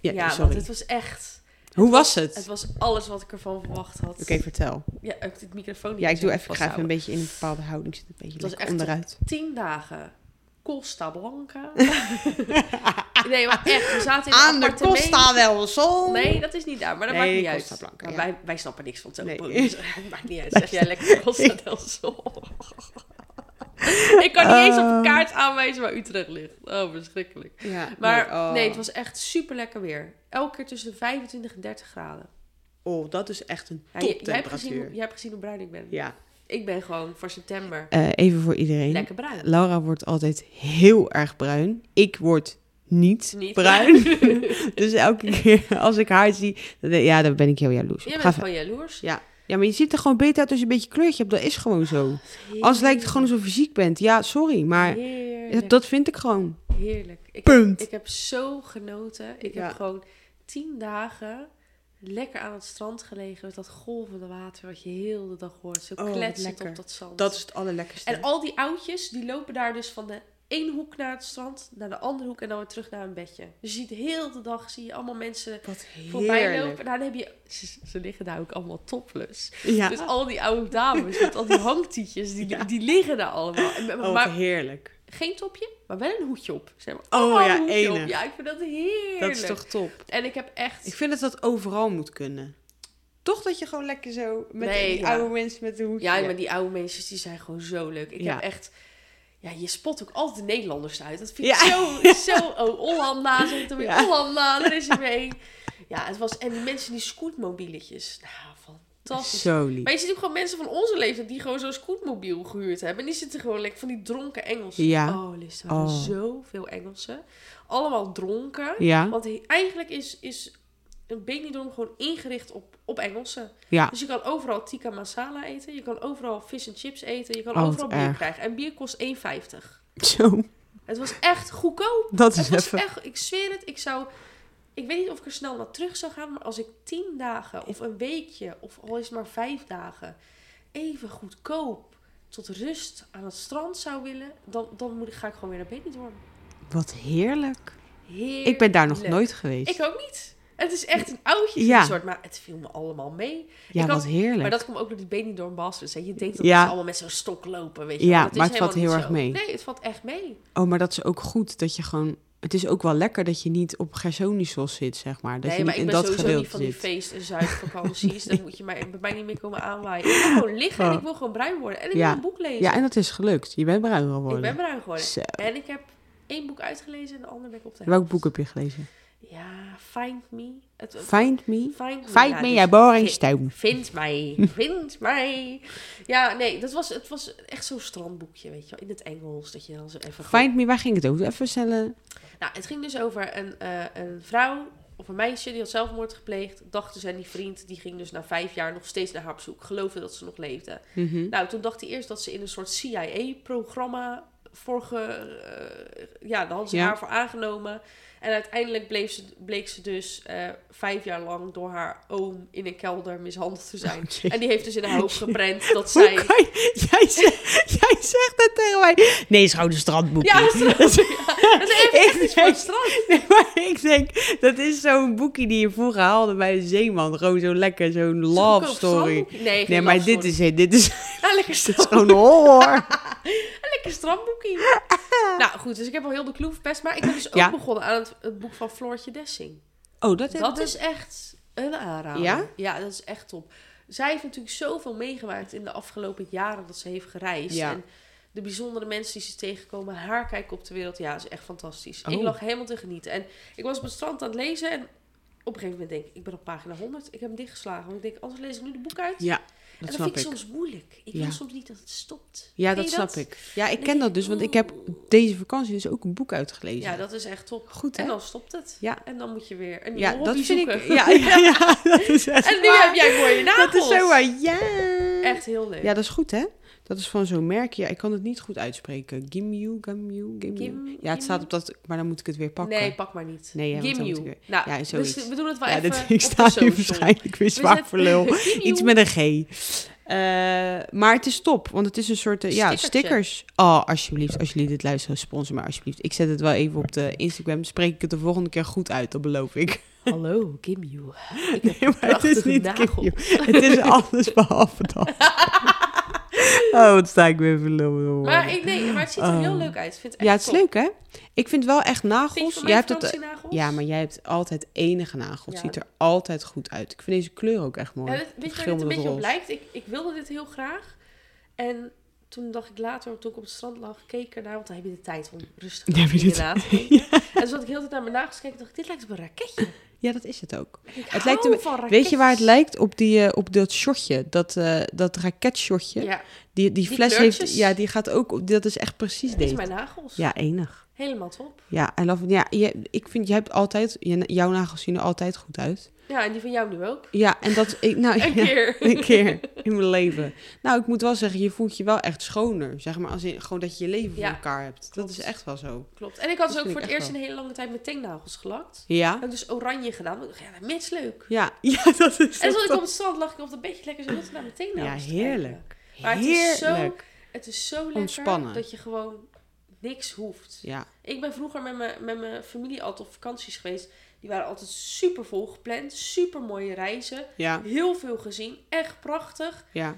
C: Ja,
A: ja, want
C: sorry.
A: het was echt...
C: Hoe was het?
A: Het Oh,
C: Oké,
A: was alles wat ik ervan verwacht had.
C: vertel.
A: Ja, ik heb dit microfoon niet
C: Ja, ik doe
A: zo
C: even, ik ga even een
A: vasthouden.
C: beetje in een bepaalde houding zitten. Een beetje
A: Het was
C: lekker
A: echt
C: onderuit.
A: Tien dagen. Costa Blanca. nee, maar echt. We zaten in een
C: Aan de
A: appartement.
C: Costa del Sol.
A: Nee, dat is niet daar, maar dat
C: Nee,
A: maakt niet
C: Costa
A: uit.
C: Blanca,
A: maar
C: ja.
A: wij, wij snappen niks van zo'n
C: Nee.
A: dus het maakt niet uit. Zeg jij lekker Costa del Sol. Ik kan niet eens op
C: Ah.
A: een kaart aanwijzen waar Utrecht ligt. Oh, verschrikkelijk.
C: Ja,
A: Maar
C: nee, oh.
A: nee, het was echt super lekker weer. Elke keer tussen de 25 en 30 graden.
C: Oh, dat is echt een
A: Ja,
C: top
A: je- jij, hebt gezien hoe,
C: temperatuur.
A: jij hebt gezien hoe bruin ik ben.
C: Ja.
A: Ik ben gewoon voor september
C: Eh, even voor iedereen.
A: lekker bruin.
C: Laura wordt altijd heel erg bruin. Ik word niet,
A: Niet
C: bruin. dus elke keer als ik haar zie, dan denk ik, ja, dan ben ik heel jaloers. op.
A: Jij
C: Ga
A: bent
C: verder.
A: gewoon jaloers.
C: Ja, maar je ziet er gewoon beter uit als je een beetje kleurtje hebt. Dat is gewoon zo. Anders lijkt het gewoon alsof je ziek bent. Ja, sorry, maar
A: Heerlijk.
C: dat vind ik gewoon.
A: Heerlijk. Ik,
C: Punt.
A: ik heb zo genoten. Ik
C: Ja.
A: heb gewoon tien dagen lekker aan het strand gelegen met dat golvende water wat je heel de dag hoort. Zo
C: Oh, wat
A: kletsend
C: lekker.
A: op dat zand.
C: Dat is het allerlekkerste.
A: En al die oudjes, die lopen daar dus van de één hoek naar het strand, naar de andere hoek en dan weer terug naar hun bedje. Dus je ziet heel de dag, zie je allemaal mensen
C: Wat
A: voorbij
C: heerlijk.
A: lopen. Nou, dan heb je, ze, ze liggen daar ook allemaal topless.
C: Ja.
A: Dus al die oude dames met al die hangtietjes, die, die liggen daar allemaal. En-
C: Oh, wat
A: maar
C: heerlijk.
A: geen topje, maar wel een hoedje op. Zeg maar.
C: Oh,
A: allemaal
C: ja,
A: een hoedje
C: enig.
A: op. Ja, ik vind dat heerlijk.
C: Dat is toch top.
A: En ik heb echt...
C: Ik vind dat dat overal moet kunnen. Toch dat je gewoon lekker zo met
A: Nee,
C: die
A: ja.
C: oude mensen met de hoedje.
A: Ja, maar die oude mensen die zijn gewoon zo leuk. Ik
C: Ja.
A: heb echt... Ja, je spot ook altijd de Nederlanders uit. Dat vind ik
C: Ja.
A: zo... zo oh, Hollanda, zegt er weer.
C: Ja.
A: Hollanda, daar is er weer één. Ja, het was... En die mensen die scootmobieletjes. Nou, fantastisch.
C: Zo lief.
A: Maar je ziet ook gewoon mensen van onze leeftijd die gewoon zo'n scootmobiel gehuurd hebben. En die zitten gewoon lekker van die dronken Engelsen.
C: Ja.
A: Oh, Liz, er waren
C: Oh.
A: zoveel Engelsen. Allemaal dronken.
C: Ja,
A: Want he- eigenlijk is, is een Benidorm gewoon ingericht op, op Engelsen.
C: ja.
A: Dus je kan overal tikka masala eten. Je kan overal fish and chips eten. Je kan
C: Oh, wat
A: overal bier
C: erg.
A: krijgen. En bier kost 1,50.
C: Zo,
A: Het was echt goedkoop.
C: dat
A: Het
C: is
A: was
C: even.
A: echt... Ik zweer het. Ik zou... Ik weet niet of ik er snel naar terug zou gaan. Maar als ik tien dagen of een weekje of al is het maar vijf dagen... even goedkoop tot rust aan het strand zou willen... dan, dan moet ik, ga ik gewoon weer naar Benidorm.
C: Wat heerlijk.
A: Heerlijk.
C: Ik ben daar nog nooit geweest.
A: Ik ook niet. Het is echt een oudje
C: Ja.
A: soort, maar het viel me allemaal mee.
C: ja,
A: ik
C: wat
A: had-
C: heerlijk.
A: Maar dat komt ook door die Benidorm Bastards. hè. Je denkt dat
C: Ja.
A: ze allemaal met zo'n stok lopen, weet je.
C: Ja,
A: wel. Dat is
C: maar het valt
A: helemaal
C: heel
A: niet
C: erg mee.
A: zo. Nee, het valt echt mee.
C: Oh, maar dat is ook goed dat je gewoon. Het is ook wel lekker dat je niet op Gersonisos zit, zeg maar. Dat
A: nee,
C: je
A: maar
C: niet
A: ik
C: in
A: ben
C: dat
A: sowieso
C: gedeelte
A: niet van die
C: zit.
A: feest- en zuidvakanties. Dan moet je mij, bij mij niet meer komen aanwaaien. Ik wil gewoon liggen en ik wil gewoon bruin worden. En ik
C: Oh. Ja.
A: wil een boek lezen.
C: Ja, en dat is gelukt. Je bent bruin geworden.
A: Ik ben bruin geworden.
C: Zo.
A: En ik heb één boek uitgelezen en de ander ben ik op de
C: Welk boek heb je gelezen?
A: helft. Ja, Find Me. Het,
C: Find me.
A: Find Me.
C: Find
A: Ja,
C: me,
A: dus
C: jij boring stoom.
A: Vind mij, vind mij. Ja, nee, dat was, het was echt zo'n strandboekje, weet je wel. In het Engels, dat je dan zo even... gewoon-
C: Find me, waar ging het over? Even snelle.
A: Nou, het ging dus over een, eh, een vrouw of een meisje die had zelfmoord gepleegd. Dachten ze en die vriend, die ging dus na vijf jaar nog steeds naar haar op zoek. Geloofde dat ze nog leefde.
C: Mhm.
A: Nou, toen dacht hij eerst dat ze in een soort CIA-programma voor ge, eh, ja, daar hadden ze
C: Ja.
A: haar voor aangenomen. En uiteindelijk bleef ze, bleek ze dus eh, vijf jaar lang door haar oom in een kelder mishandeld te zijn.
C: jee.
A: en die heeft dus in haar hoofd geprent dat
C: Hoe
A: zij...
C: kan je- jij, zegt, jij zegt dat tegen mij. Nee, het is gewoon een strandboek.
A: Ja, dat is, ja, dat is even
C: Ik
A: echt iets voor het
C: denk-
A: strand.
C: Nee, maar ik denk, dat is zo'n boekje die je vroeger haalde bij de zeeman. Gewoon zo lekker, zo'n love
A: Goedkoop
C: story.
A: strandboekje. Nee,
C: Nee, maar dit is, dit is,
A: Ja, Ah, lekker
C: dit is gewoon horror.
A: Lekker strandboekie. nou goed, dus ik heb al heel de clue verpest. Maar ik ben dus ook
C: Ja.
A: begonnen aan het, het boek van Floortje Dessing.
C: Oh, dat,
A: Dat is echt een aanrader.
C: Ja?
A: Ja, dat is echt top. Zij heeft natuurlijk zoveel meegemaakt in de afgelopen jaren dat ze heeft gereisd.
C: Ja.
A: En de bijzondere mensen die ze tegenkomen, haar kijk op de wereld. Ja, is echt fantastisch. Ik
C: Oh.
A: lag helemaal te genieten. En ik was op het strand aan het lezen en op een gegeven moment denk ik, ik ben op pagina 100. Ik heb hem dichtgeslagen. Want ik denk, anders lees ik nu de boek uit.
C: Ja.
A: en
C: dat
A: dat
C: snap
A: vind ik
C: ik.
A: soms moeilijk. Ik
C: Ja.
A: wil soms niet dat het stopt.
C: Ja,
A: Ken
C: dat
A: je
C: snap ik. Ja,
A: Dan
C: ik ken
A: denk
C: dat
A: ik,
C: dus, want ik heb
A: oeh.
C: deze vakantie dus ook een boek uitgelezen.
A: Ja, dat is echt top.
C: Goed, hè?
A: En dan stopt het.
C: Ja.
A: En dan moet je weer een nieuwe
C: ja,
A: hobby
C: dat vind
A: zoeken.
C: ik. Ja, ja, ja, dat is echt
A: En nu
C: waar.
A: heb jij mooie nagels.
C: Dat is zo waar, ja.
A: Echt heel leuk.
C: Ja, dat is goed, hè? Dat is van zo'n merkje. Ik kan het niet goed uitspreken. Gimyu, Gamyu, Gimyu.
A: Gim-
C: Ja, het staat
A: Gimyu?
C: op dat, maar dan moet ik het weer pakken.
A: Nee, pak maar niet.
C: Nee, ja, want dan
A: Gimyu.
C: moet ik
A: Nou,
C: Ja,
A: dus
C: zoiets.
A: we doen het wel
C: ja,
A: even
C: dit,
A: op
C: ik
A: de
C: sta hier
A: social.
C: waarschijnlijk weer
A: We
C: zwaar
A: zetten-
C: voor lul.
A: Gimyu.
C: Iets met een G. Eh, maar het is top, want het is een soort eh, ja,
A: Stickertje.
C: stickers. Oh, alsjeblieft, als jullie dit luisteren, sponsor me alsjeblieft. Ik zet het wel even op de Instagram. Spreek ik het de volgende keer goed uit, dat beloof ik.
D: Hallo, Kim Yu. Ik heb
C: Nee, maar het is
D: prachtige
C: niet
D: nagels.
C: Gimyu. Het is alles behalve dat. Oh, wat sta ik weer voor lul.
A: Maar, ik, nee, maar het ziet er heel
C: Oh.
A: leuk uit. Ik vind het echt
C: Ja, het is
A: top.
C: leuk, hè? Ik vind wel echt
A: Vind je
C: nagels.
A: van
C: Jij
A: mij
C: hebt het, eh,
A: vakantienagels?
C: ja, maar jij hebt altijd enige nagels.
A: Ja.
C: Ziet er altijd goed uit. Ik vind deze kleur ook echt mooi.
A: Ja, dit, weet je waar
C: verschil
A: dit een
C: met
A: beetje op
C: roze.
A: lijkt? Ik, ik wilde dit heel graag. En toen dacht ik later, toen ik op het strand lag, keek ik ernaar. Want dan heb je de tijd om rustig
C: Dan heb je
A: dingen
C: de
A: na te denken. En toen zat ik heel de tijd naar mijn nagels te kijken. dacht ik, dit lijkt op een raketje.
C: Ja, dat is het ook.
A: En ik
C: Het
A: hou
C: lijkt een-
A: van
C: Weet je waar het
A: raketjes.
C: lijkt? Op, die, eh, op dat shotje, dat, eh dat raketshotje.
A: Ja,
C: Die, die
A: Die
C: fles heeft,
A: kleurtjes.
C: ja, die gaat ook op, dat is echt precies
A: dit is
C: deze.
A: mijn nagels.
C: Ja, enig.
A: Helemaal top.
C: Ja, I love it. ja je, ik vind, jij hebt altijd, je- jouw nagels zien er altijd goed uit.
A: Ja, en die van jou nu ook.
C: Ja, en dat, ik, nou,
A: Een
C: ja.
A: keer.
C: een keer in mijn leven. Nou, ik moet wel zeggen, je voelt je wel echt schoner. Zeg maar, als in, gewoon dat je je leven
A: Ja,
C: voor elkaar hebt.
A: klopt.
C: Dat is echt wel zo.
A: Klopt. En ik had
C: Dat
A: dus ook
C: vind
A: voor
C: ik
A: het
C: echt
A: eerst in een hele lange tijd mijn teennagels gelakt.
C: Ja?
A: Heb ik dus oranje gedaan. want ik dacht, ja, dat is leuk.
C: Ja, ja dat is
A: En toen ik
C: toch-
A: op het strand lag ik op een beetje lekker zo rustig naar mijn
C: Ja,
A: teennagels te kijken.
C: heerlijk.
A: Maar het is zo-
C: heerlijk.
A: Het is zo lekker
C: Ontspannen.
A: dat je gewoon niks hoeft.
C: Ja,
A: Ik ben vroeger met mijn, met mijn familie altijd op vakanties geweest. Die waren altijd super vol gepland. Super mooie reizen.
C: ja,
A: Heel veel gezien. Echt prachtig.
C: ja.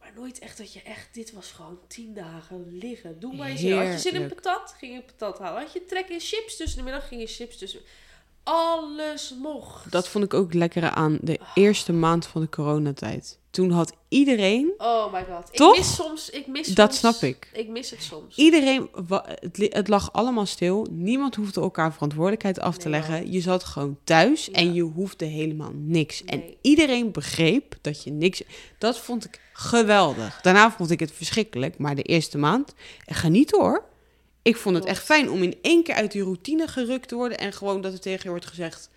A: Maar nooit echt dat je echt... Dit was gewoon tien dagen liggen. Doe maar eens. in. Had je zin in
C: Heerlijk.
A: patat? Ging je patat halen. Had je trek in chips tussen de middag? Ging je chips tussen... Alles mocht.
C: Dat vond ik ook lekker aan de eerste maand van de coronatijd. Toen had iedereen,
A: Oh my god.
C: Toch?
A: Ik mis soms... Ik mis
C: Dat
A: soms-
C: snap ik.
A: Ik mis het soms.
C: iedereen, wa- het, li- het lag allemaal stil. Niemand hoefde elkaar verantwoordelijkheid af te
A: Nee,
C: leggen. Je zat gewoon thuis
A: Ja.
C: en je hoefde helemaal niks. En
A: Nee.
C: iedereen begreep dat je niks. Dat vond ik geweldig. Daarna vond ik het verschrikkelijk, maar de eerste maand, geniet hoor. Ik vond het
A: Klopt.
C: echt fijn om in één keer uit die routine gerukt te worden en gewoon dat er tegen je wordt gezegd: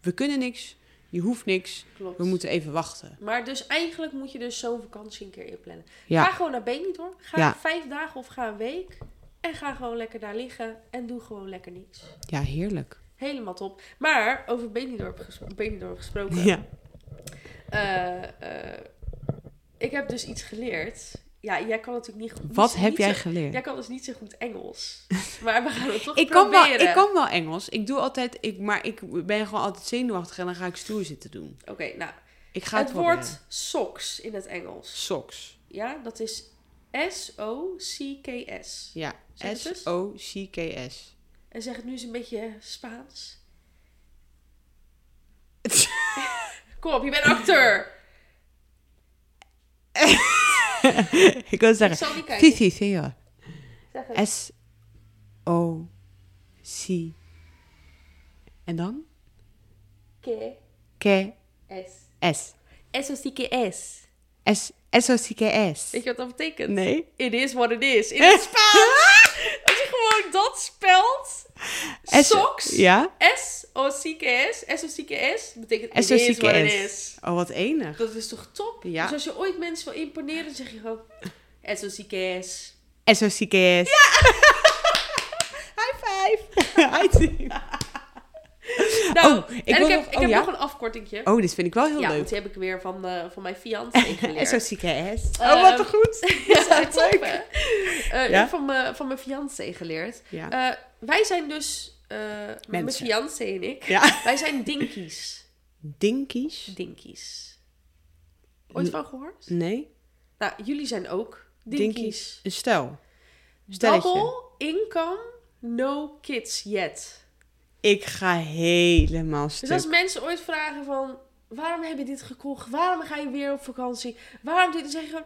C: we kunnen niks, je hoeft niks,
A: Klopt.
C: we moeten even wachten.
A: Maar dus eigenlijk moet je dus zo'n vakantie een keer inplannen.
C: Ja.
A: Ga gewoon naar Benidorm. hoor. Ga
C: Ja.
A: vijf dagen of ga een week. En ga gewoon lekker daar liggen. En doe gewoon lekker niks.
C: Ja, heerlijk.
A: Helemaal top. Maar over Benidorm, ges- Benidorm gesproken.
C: Ja.
A: Eh, eh, ik heb dus iets geleerd. Ja, jij kan natuurlijk niet goed...
C: Wat
A: niet-
C: heb
A: niet
C: jij
A: zo-
C: geleerd?
A: Jij kan dus niet zo goed Engels. Maar we gaan het toch
C: ik, kan wel,
A: proberen.
C: ik kan wel Engels. Ik doe altijd, ik, maar ik ben gewoon altijd zenuwachtig en dan ga ik stoer zitten doen.
A: Oké, nou.
C: Ik ga het,
A: het
C: proberen.
A: woord socks in het Engels.
C: socks.
A: Ja, dat is S-O-C-K-S.
C: Ja,
A: Zeg het eens.
C: S-O-C-K-S.
A: En zeg het nu eens een beetje Spaans. Kom op, je bent acteur.
C: ik wil
A: Ik
C: zeggen,
A: zal niet kijken.
C: Fifi, senor.
A: Zeg het.
C: S-O-C. En dan?
A: K
C: K-S.
A: S. S-O-C-K-S.
C: S- S-O-C-K-S.
A: Weet je wat dat betekent?
C: Nee?
A: It is what it is. In het Spaans. Als je gewoon dat spelt.
C: S-
A: Socks.
C: Ja?
A: S-O-C-K-S. S-O-C-K-S betekent it is what it is.
C: Oh, wat enig.
A: Dat is toch top?
C: Ja.
A: Dus als je ooit mensen wil imponeren, dan zeg je gewoon S-O-C-K-S.
C: S-O-C-K-S. Ja! High five! High team.
A: Nou,
C: Oh, ik
A: en
C: wil
A: ik heb,
C: nog-
A: ik
C: oh,
A: heb
C: ja?
A: nog een afkortingje.
C: Oh, dit vind ik wel heel
A: ja,
C: leuk.
A: want die heb ik weer van, eh, van mijn fiancé geleerd.
C: S-O-C-K-S.
A: Ehm,
C: oh, wat een goed.
A: Ja,
C: Dat is echt
A: top,
C: leuk.
A: hè? Eh, ik
C: Ja?
A: heb van, mijn van mijn fiancé geleerd.
C: Ja.
A: Eh, wij zijn dus, eh, mijn
C: Mensen.
A: fiancé en ik,
C: ja.
A: wij zijn dinkies.
C: Dinkies?
A: Dinkies. Ooit van gehoord?
C: Nee.
A: Nou, jullie zijn ook
C: Dinkies.
A: dinkies.
C: Een stel. Stelletje.
A: Double income, no kids yet.
C: Ik ga helemaal
A: Dus
C: stuk.
A: als mensen ooit vragen van, waarom heb je dit gekocht? Waarom ga je weer op vakantie? Waarom doe je Dan zeg je gewoon,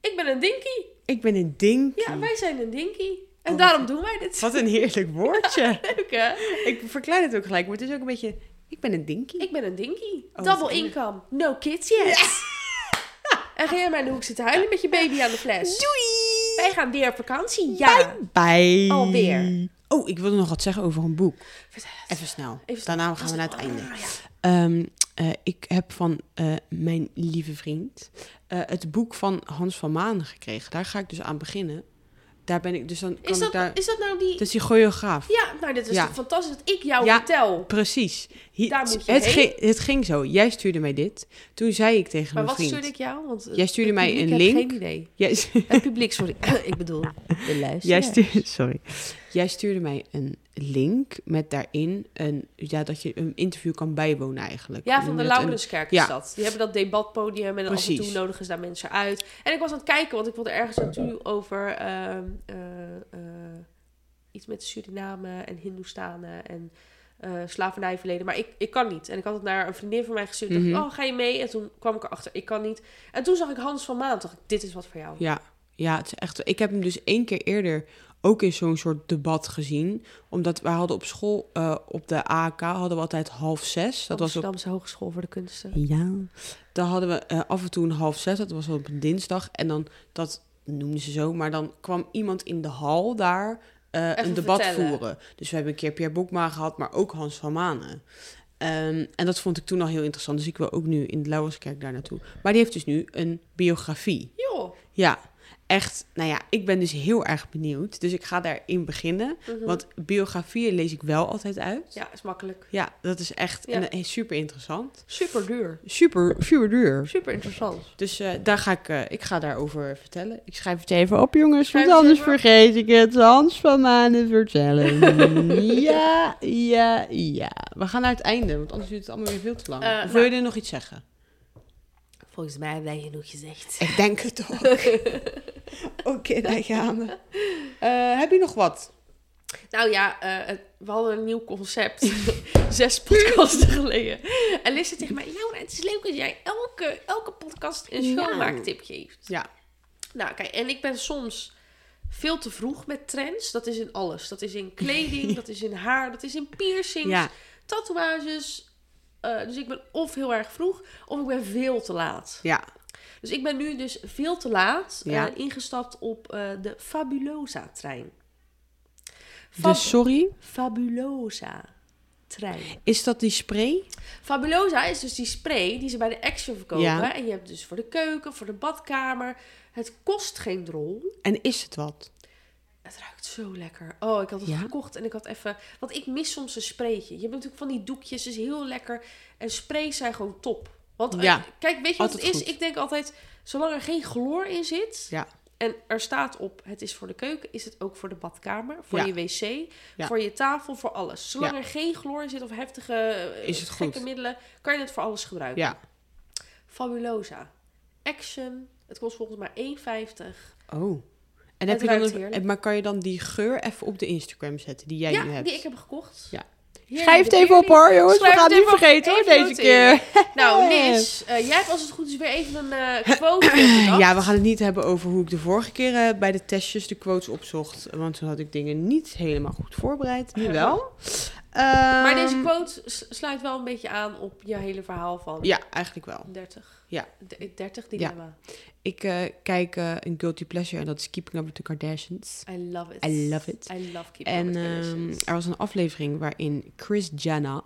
A: ik ben een dinkie.
C: Ik ben een dinkie.
A: Ja, wij zijn een dinkie. En
C: Oh,
A: daarom doen wij dit.
C: Wat een heerlijk woordje.
A: Leuk, hè?
C: ik verklein het ook gelijk, maar het is ook een beetje... Ik ben een dinkie.
A: Ik ben een dinky.
C: Oh,
A: Double
C: wat erg.
A: income. No kids yet. En ga jij maar in de hoek zitten huilen met je baby aan de fles.
C: Doei!
A: Wij gaan weer op vakantie, ja.
C: Bye!
A: Alweer.
C: Oh, ik wilde nog wat zeggen over een boek.
A: Vertel het.
C: Even snel.
A: Even snel.
C: Daarna gaan we naar het einde.
A: Ah, ja.
C: Ehm, eh, ik heb van eh, mijn lieve vriend eh, het boek van Hans van Manen gekregen. Daar ga ik dus aan beginnen. Daar ben ik dus dan. Kan
A: Is
C: ik
A: dat,
C: daar...
A: is dat nou die...
C: Het is die choreograaf.
A: Ja, nou, dit is
C: Ja.
A: toch fantastisch dat ik jou
C: Ja.
A: vertel.
C: Precies. Hi-
A: Daar moet je
C: het,
A: heen.
C: ging, het ging zo. Jij stuurde mij dit. Toen zei ik
A: Maar
C: tegen mijn
A: wat
C: vriend.
A: stuurde ik jou? Want eh,
C: Jij stuurde mij een
A: Ik
C: link.
A: heb geen idee.
C: Jij,
A: Het publiek, sorry. ik bedoel, de luisteraar.
C: jij stuurde, sorry. Jij stuurde mij een link met daarin een, ja, dat je een interview kan bijwonen eigenlijk.
A: Ja,
C: Hoe
A: van
C: noem
A: de
C: je dat? Een-
A: Laurenskerk is
C: Ja.
A: dat. Die hebben dat debatpodium en dan af en
C: Precies.
A: toe nodigen ze daar mensen uit. En ik was aan het kijken, want ik wilde ergens naartoe over ehm, eh, eh, iets met Suriname en Hindoestanen en eh, slavernijverleden. Maar ik, ik kan niet. En ik had het naar een vriendin van mij gestuurd. Dacht ik,
C: Mhm.
A: oh, ga je mee? En toen kwam ik erachter, ik kan niet. En toen zag ik Hans van Maan. Dacht ik, dit is wat voor jou.
C: Ja, ja, het is echt. Ik heb hem dus één keer eerder ook in zo'n soort debat gezien. Omdat wij hadden op school, eh, op de AK hadden we altijd half zes. Dat was op.
A: Amsterdamse Hogeschool voor de Kunsten.
C: Ja. Daar hadden we eh, af en toe een half zes. Dat was op een dinsdag. En dan, dat noemden ze zo, maar dan kwam iemand in de hal daar eh,
A: Even
C: een debat
A: vertellen.
C: voeren. Dus we hebben een keer Pierre Boekma gehad, maar ook Hans van Manen. Ehm, en dat vond ik toen al heel interessant. Dus ik wil ook nu in de Lauwerskerk daar naartoe. Maar die heeft dus nu een biografie.
A: Joh.
C: Ja, echt. Nou ja, ik ben dus heel erg benieuwd. Dus ik ga daarin beginnen.
A: Mhm.
C: Want biografieën lees ik wel altijd uit. Ja,
A: Ja, is makkelijk.
C: dat is echt
A: Ja.
C: en, eh, super interessant.
A: Super duur.
C: Super, super duur.
A: Super interessant.
C: Dus eh, daar ga ik, eh, ik ga daarover vertellen. Ik schrijf het even op, jongens.
A: Schrijf
C: Want
A: het
C: anders
A: even op.
C: vergeet ik het. Hans van Manen vertellen. ja, ja, ja. We gaan naar het einde, want anders duurt het allemaal weer veel te lang.
A: Eh,
C: of wil
A: nou-
C: je er nog iets zeggen?
D: Volgens mij hebben wij genoeg gezegd.
C: Ik denk het ook. Oké, daar gaan we. Eh, heb je nog wat?
A: Nou ja, eh, het- we hadden een nieuw concept. Zes podcasten geleden. En Liz zei tegen mij, Laura, het is leuk dat jij elke, elke podcast een
C: Ja.
A: schoonmaaktip geeft.
C: Ja.
A: Nou, kijk, en ik ben soms veel te vroeg met trends. Dat is in alles. Dat is in kleding, dat is in haar, dat is in piercings,
C: Ja,
A: tatoeages. Eh, dus ik ben of heel erg vroeg, of ik ben veel te laat.
C: ja.
A: Dus ik ben nu dus veel te laat eh,
C: Ja.
A: ingestapt op eh, de Fabulosa-trein. Fab-
C: Dus sorry,
A: Fabulosa-trein.
C: is dat die spray?
A: Fabulosa is dus die spray die ze bij de Action verkopen.
C: Ja.
A: En je hebt dus voor de keuken, voor de badkamer. Het kost geen drol.
C: En is het wat?
A: Het ruikt zo lekker. Oh, ik had het
C: Ja?
A: gekocht en ik had even... Want ik mis soms een spraytje. Je hebt natuurlijk van die doekjes, dus heel lekker. En sprays zijn gewoon top. Want eh,
C: Ja.
A: kijk, weet je wat het
C: Altijd
A: is?
C: goed.
A: Ik denk altijd, zolang er geen chloor in zit...
C: Ja.
A: En er staat op, het is voor de keuken, is het ook voor de badkamer, voor
C: Ja.
A: je wc,
C: Ja.
A: voor je tafel, voor alles. Zolang
C: Ja.
A: er geen chloor in zit of heftige eh,
C: Is het
A: gekke
C: goed.
A: middelen, kan je het voor alles gebruiken.
C: Ja.
A: Fabulosa. Action. Het kost volgens mij 1,50.
C: Oh.
A: Het
C: En heb je dan
A: ruikt
C: een-
A: heerlijk.
C: maar kan je dan die geur even op de Instagram zetten die jij
A: ja,
C: nu hebt?
A: die ik heb gekocht.
C: Ja.
A: Heerlijk.
C: Schrijf het
A: Ik
C: even
A: weet
C: op hoor, jongens.
A: Schrijf
C: we gaan
A: het
C: het niet
A: even op.
C: vergeren hoor,
A: Even
C: deze
A: noteren.
C: keer.
A: Nou, Liz, eh, jij hebt als het goed is weer even een eh quote bedacht.
C: Ja, we gaan het niet hebben over hoe ik de vorige keer eh, bij de testjes de quotes opzocht. Want toen had ik dingen niet helemaal goed voorbereid. Nu wel.
A: Maar deze
C: Ehm,
A: quote s- sluit wel een beetje aan op je hele verhaal van
C: Ja, eigenlijk wel.
A: 30.
C: Ja.
A: D- 30 dilemma.
C: Ik eh, kijk eh, een guilty pleasure en dat is Keeping Up With The Kardashians.
A: I love it.
C: I love it.
A: I love keeping up
C: En
A: with
C: ehm,
A: Kardashians.
C: er was een aflevering waarin Chris Jenner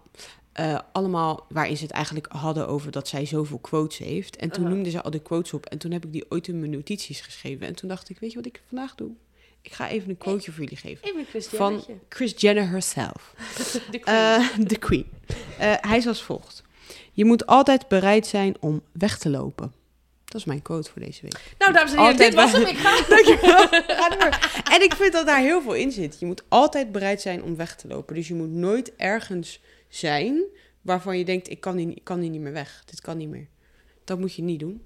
C: eh, allemaal, waarin ze het eigenlijk hadden over dat zij zoveel quotes heeft. En toen
A: Aha.
C: noemde ze al de quotes op. En toen heb ik die ooit in mijn notities geschreven. En toen dacht ik, weet je wat ik vandaag doe? Ik ga even een quoteje voor jullie geven.
A: Even een
C: Van
A: Christianetje.
C: Chris Jenner herself.
A: De queen.
C: Eh, De queen. Eh, hij is als volgt. Je moet altijd bereid zijn om weg te lopen. Dat is mijn quote voor deze week.
A: nou, dames en heren, dit was
C: altijd bij-
A: hem. Ik ga.
C: Dankjewel. Ga door. En ik vind dat daar heel veel in zit. Je moet altijd bereid zijn om weg te lopen. Dus je moet nooit ergens zijn waarvan je denkt, ik kan hier, ik kan hier niet meer weg. Dit kan niet meer. Dat moet je niet doen.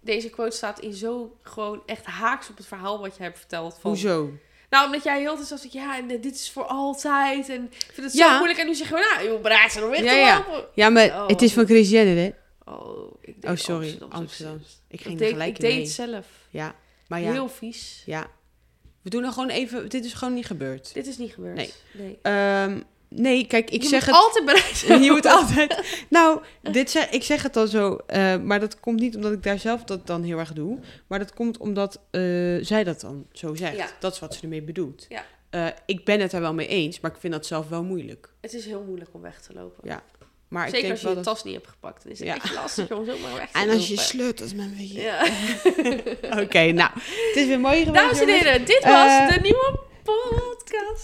A: Deze quote staat in zo gewoon echt haaks op het verhaal wat je hebt verteld. Van,
C: Hoezo?
A: Nou, omdat jij heel de tijd zat van, ja, en eh, dit is voor altijd. En ik vind het zo
C: Ja.
A: moeilijk. En nu zeg je, nou, je moet bereid zijn om weg
C: Ja,
A: te
C: ja.
A: lopen.
C: Ja, maar
A: Oh,
C: het is van Chris Jenner, hè?
A: Oh, ik denk
C: Oh, sorry.
A: Amsterdam.
C: Amsterdam. Ik ging
A: Ik,
C: er
A: deed,
C: gelijk
A: ik
C: in
A: deed
C: mee.
A: het zelf.
C: Ja, maar ja.
A: Heel vies.
C: ja. We doen er gewoon even... Dit is gewoon niet gebeurd.
A: Dit is niet gebeurd.
C: Nee.
A: nee.
C: Ehm, Nee, kijk, ik
A: je
C: zeg
A: moet
C: het...
A: altijd bereid zijn.
C: Je moet altijd... Nou, dit zeg, ik zeg het dan zo, eh, maar dat komt niet omdat ik daar zelf dat dan heel erg doe. Maar dat komt omdat eh, zij dat dan zo zegt.
A: Ja.
C: Dat is wat ze ermee bedoelt.
A: Ja.
C: Eh, ik ben het er wel mee eens, maar ik vind dat zelf wel moeilijk.
A: Het is heel moeilijk om weg te lopen.
C: Ja, Maar ik
A: Zeker
C: denk
A: als je
C: wel
A: je
C: dat...
A: tas niet hebt gepakt. Dan is het
C: Ja.
A: echt lastig om zomaar weg te
C: En als je
A: lopen.
C: sleutelt met me hier.
A: Ja.
C: Oké, nou. Het is weer mooi geweest.
A: Dames en
C: jongens.
A: heren, dit was
C: Eh,
A: de nieuwe podcast.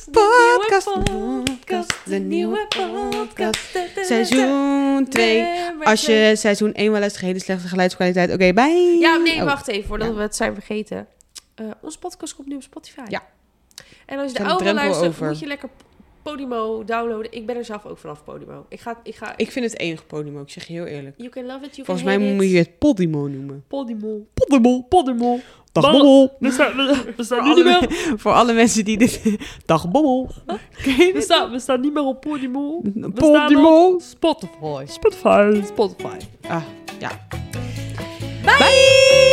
A: De
C: Podcast,
A: nieuwe podcast. De nieuwe podcast.
C: Seizoen 2.
A: Nummer
C: Als
A: twee.
C: je seizoen 1 wel luistert, hele slechte geluidskwaliteit. Oké, bye.
A: Ja, nee,
C: Oh,
A: wacht even voordat
C: Ja.
A: we het zijn vergeten. Eh, onze podcast komt nu op Spotify.
C: Ja.
A: En als je de
C: Zijn de
A: oude
C: drempel
A: luistert,
C: over.
A: moet je lekker Podimo downloaden. Ik ben er zelf ook vanaf Podimo. Ik ga, ik ga,
C: Ik vind het enige podium ook, ik zeg je heel eerlijk.
A: you can love it, you
C: Volgens
A: can
C: mij
A: hate
C: moet
A: it.
C: je het Podimo noemen.
A: Podimo.
C: Podimo.
A: Podimo.
C: Dag
A: Maar-
C: Bobbel.
A: We staan, we, we staan
C: Voor alle, men- voor alle mensen die dit... Dag Bobbel. Ken je dit?
A: staan, we staan niet meer op Podimo.
C: Podimo.
A: Spotify. Spotify. Spotify.
C: Ah, ja.
A: Bye.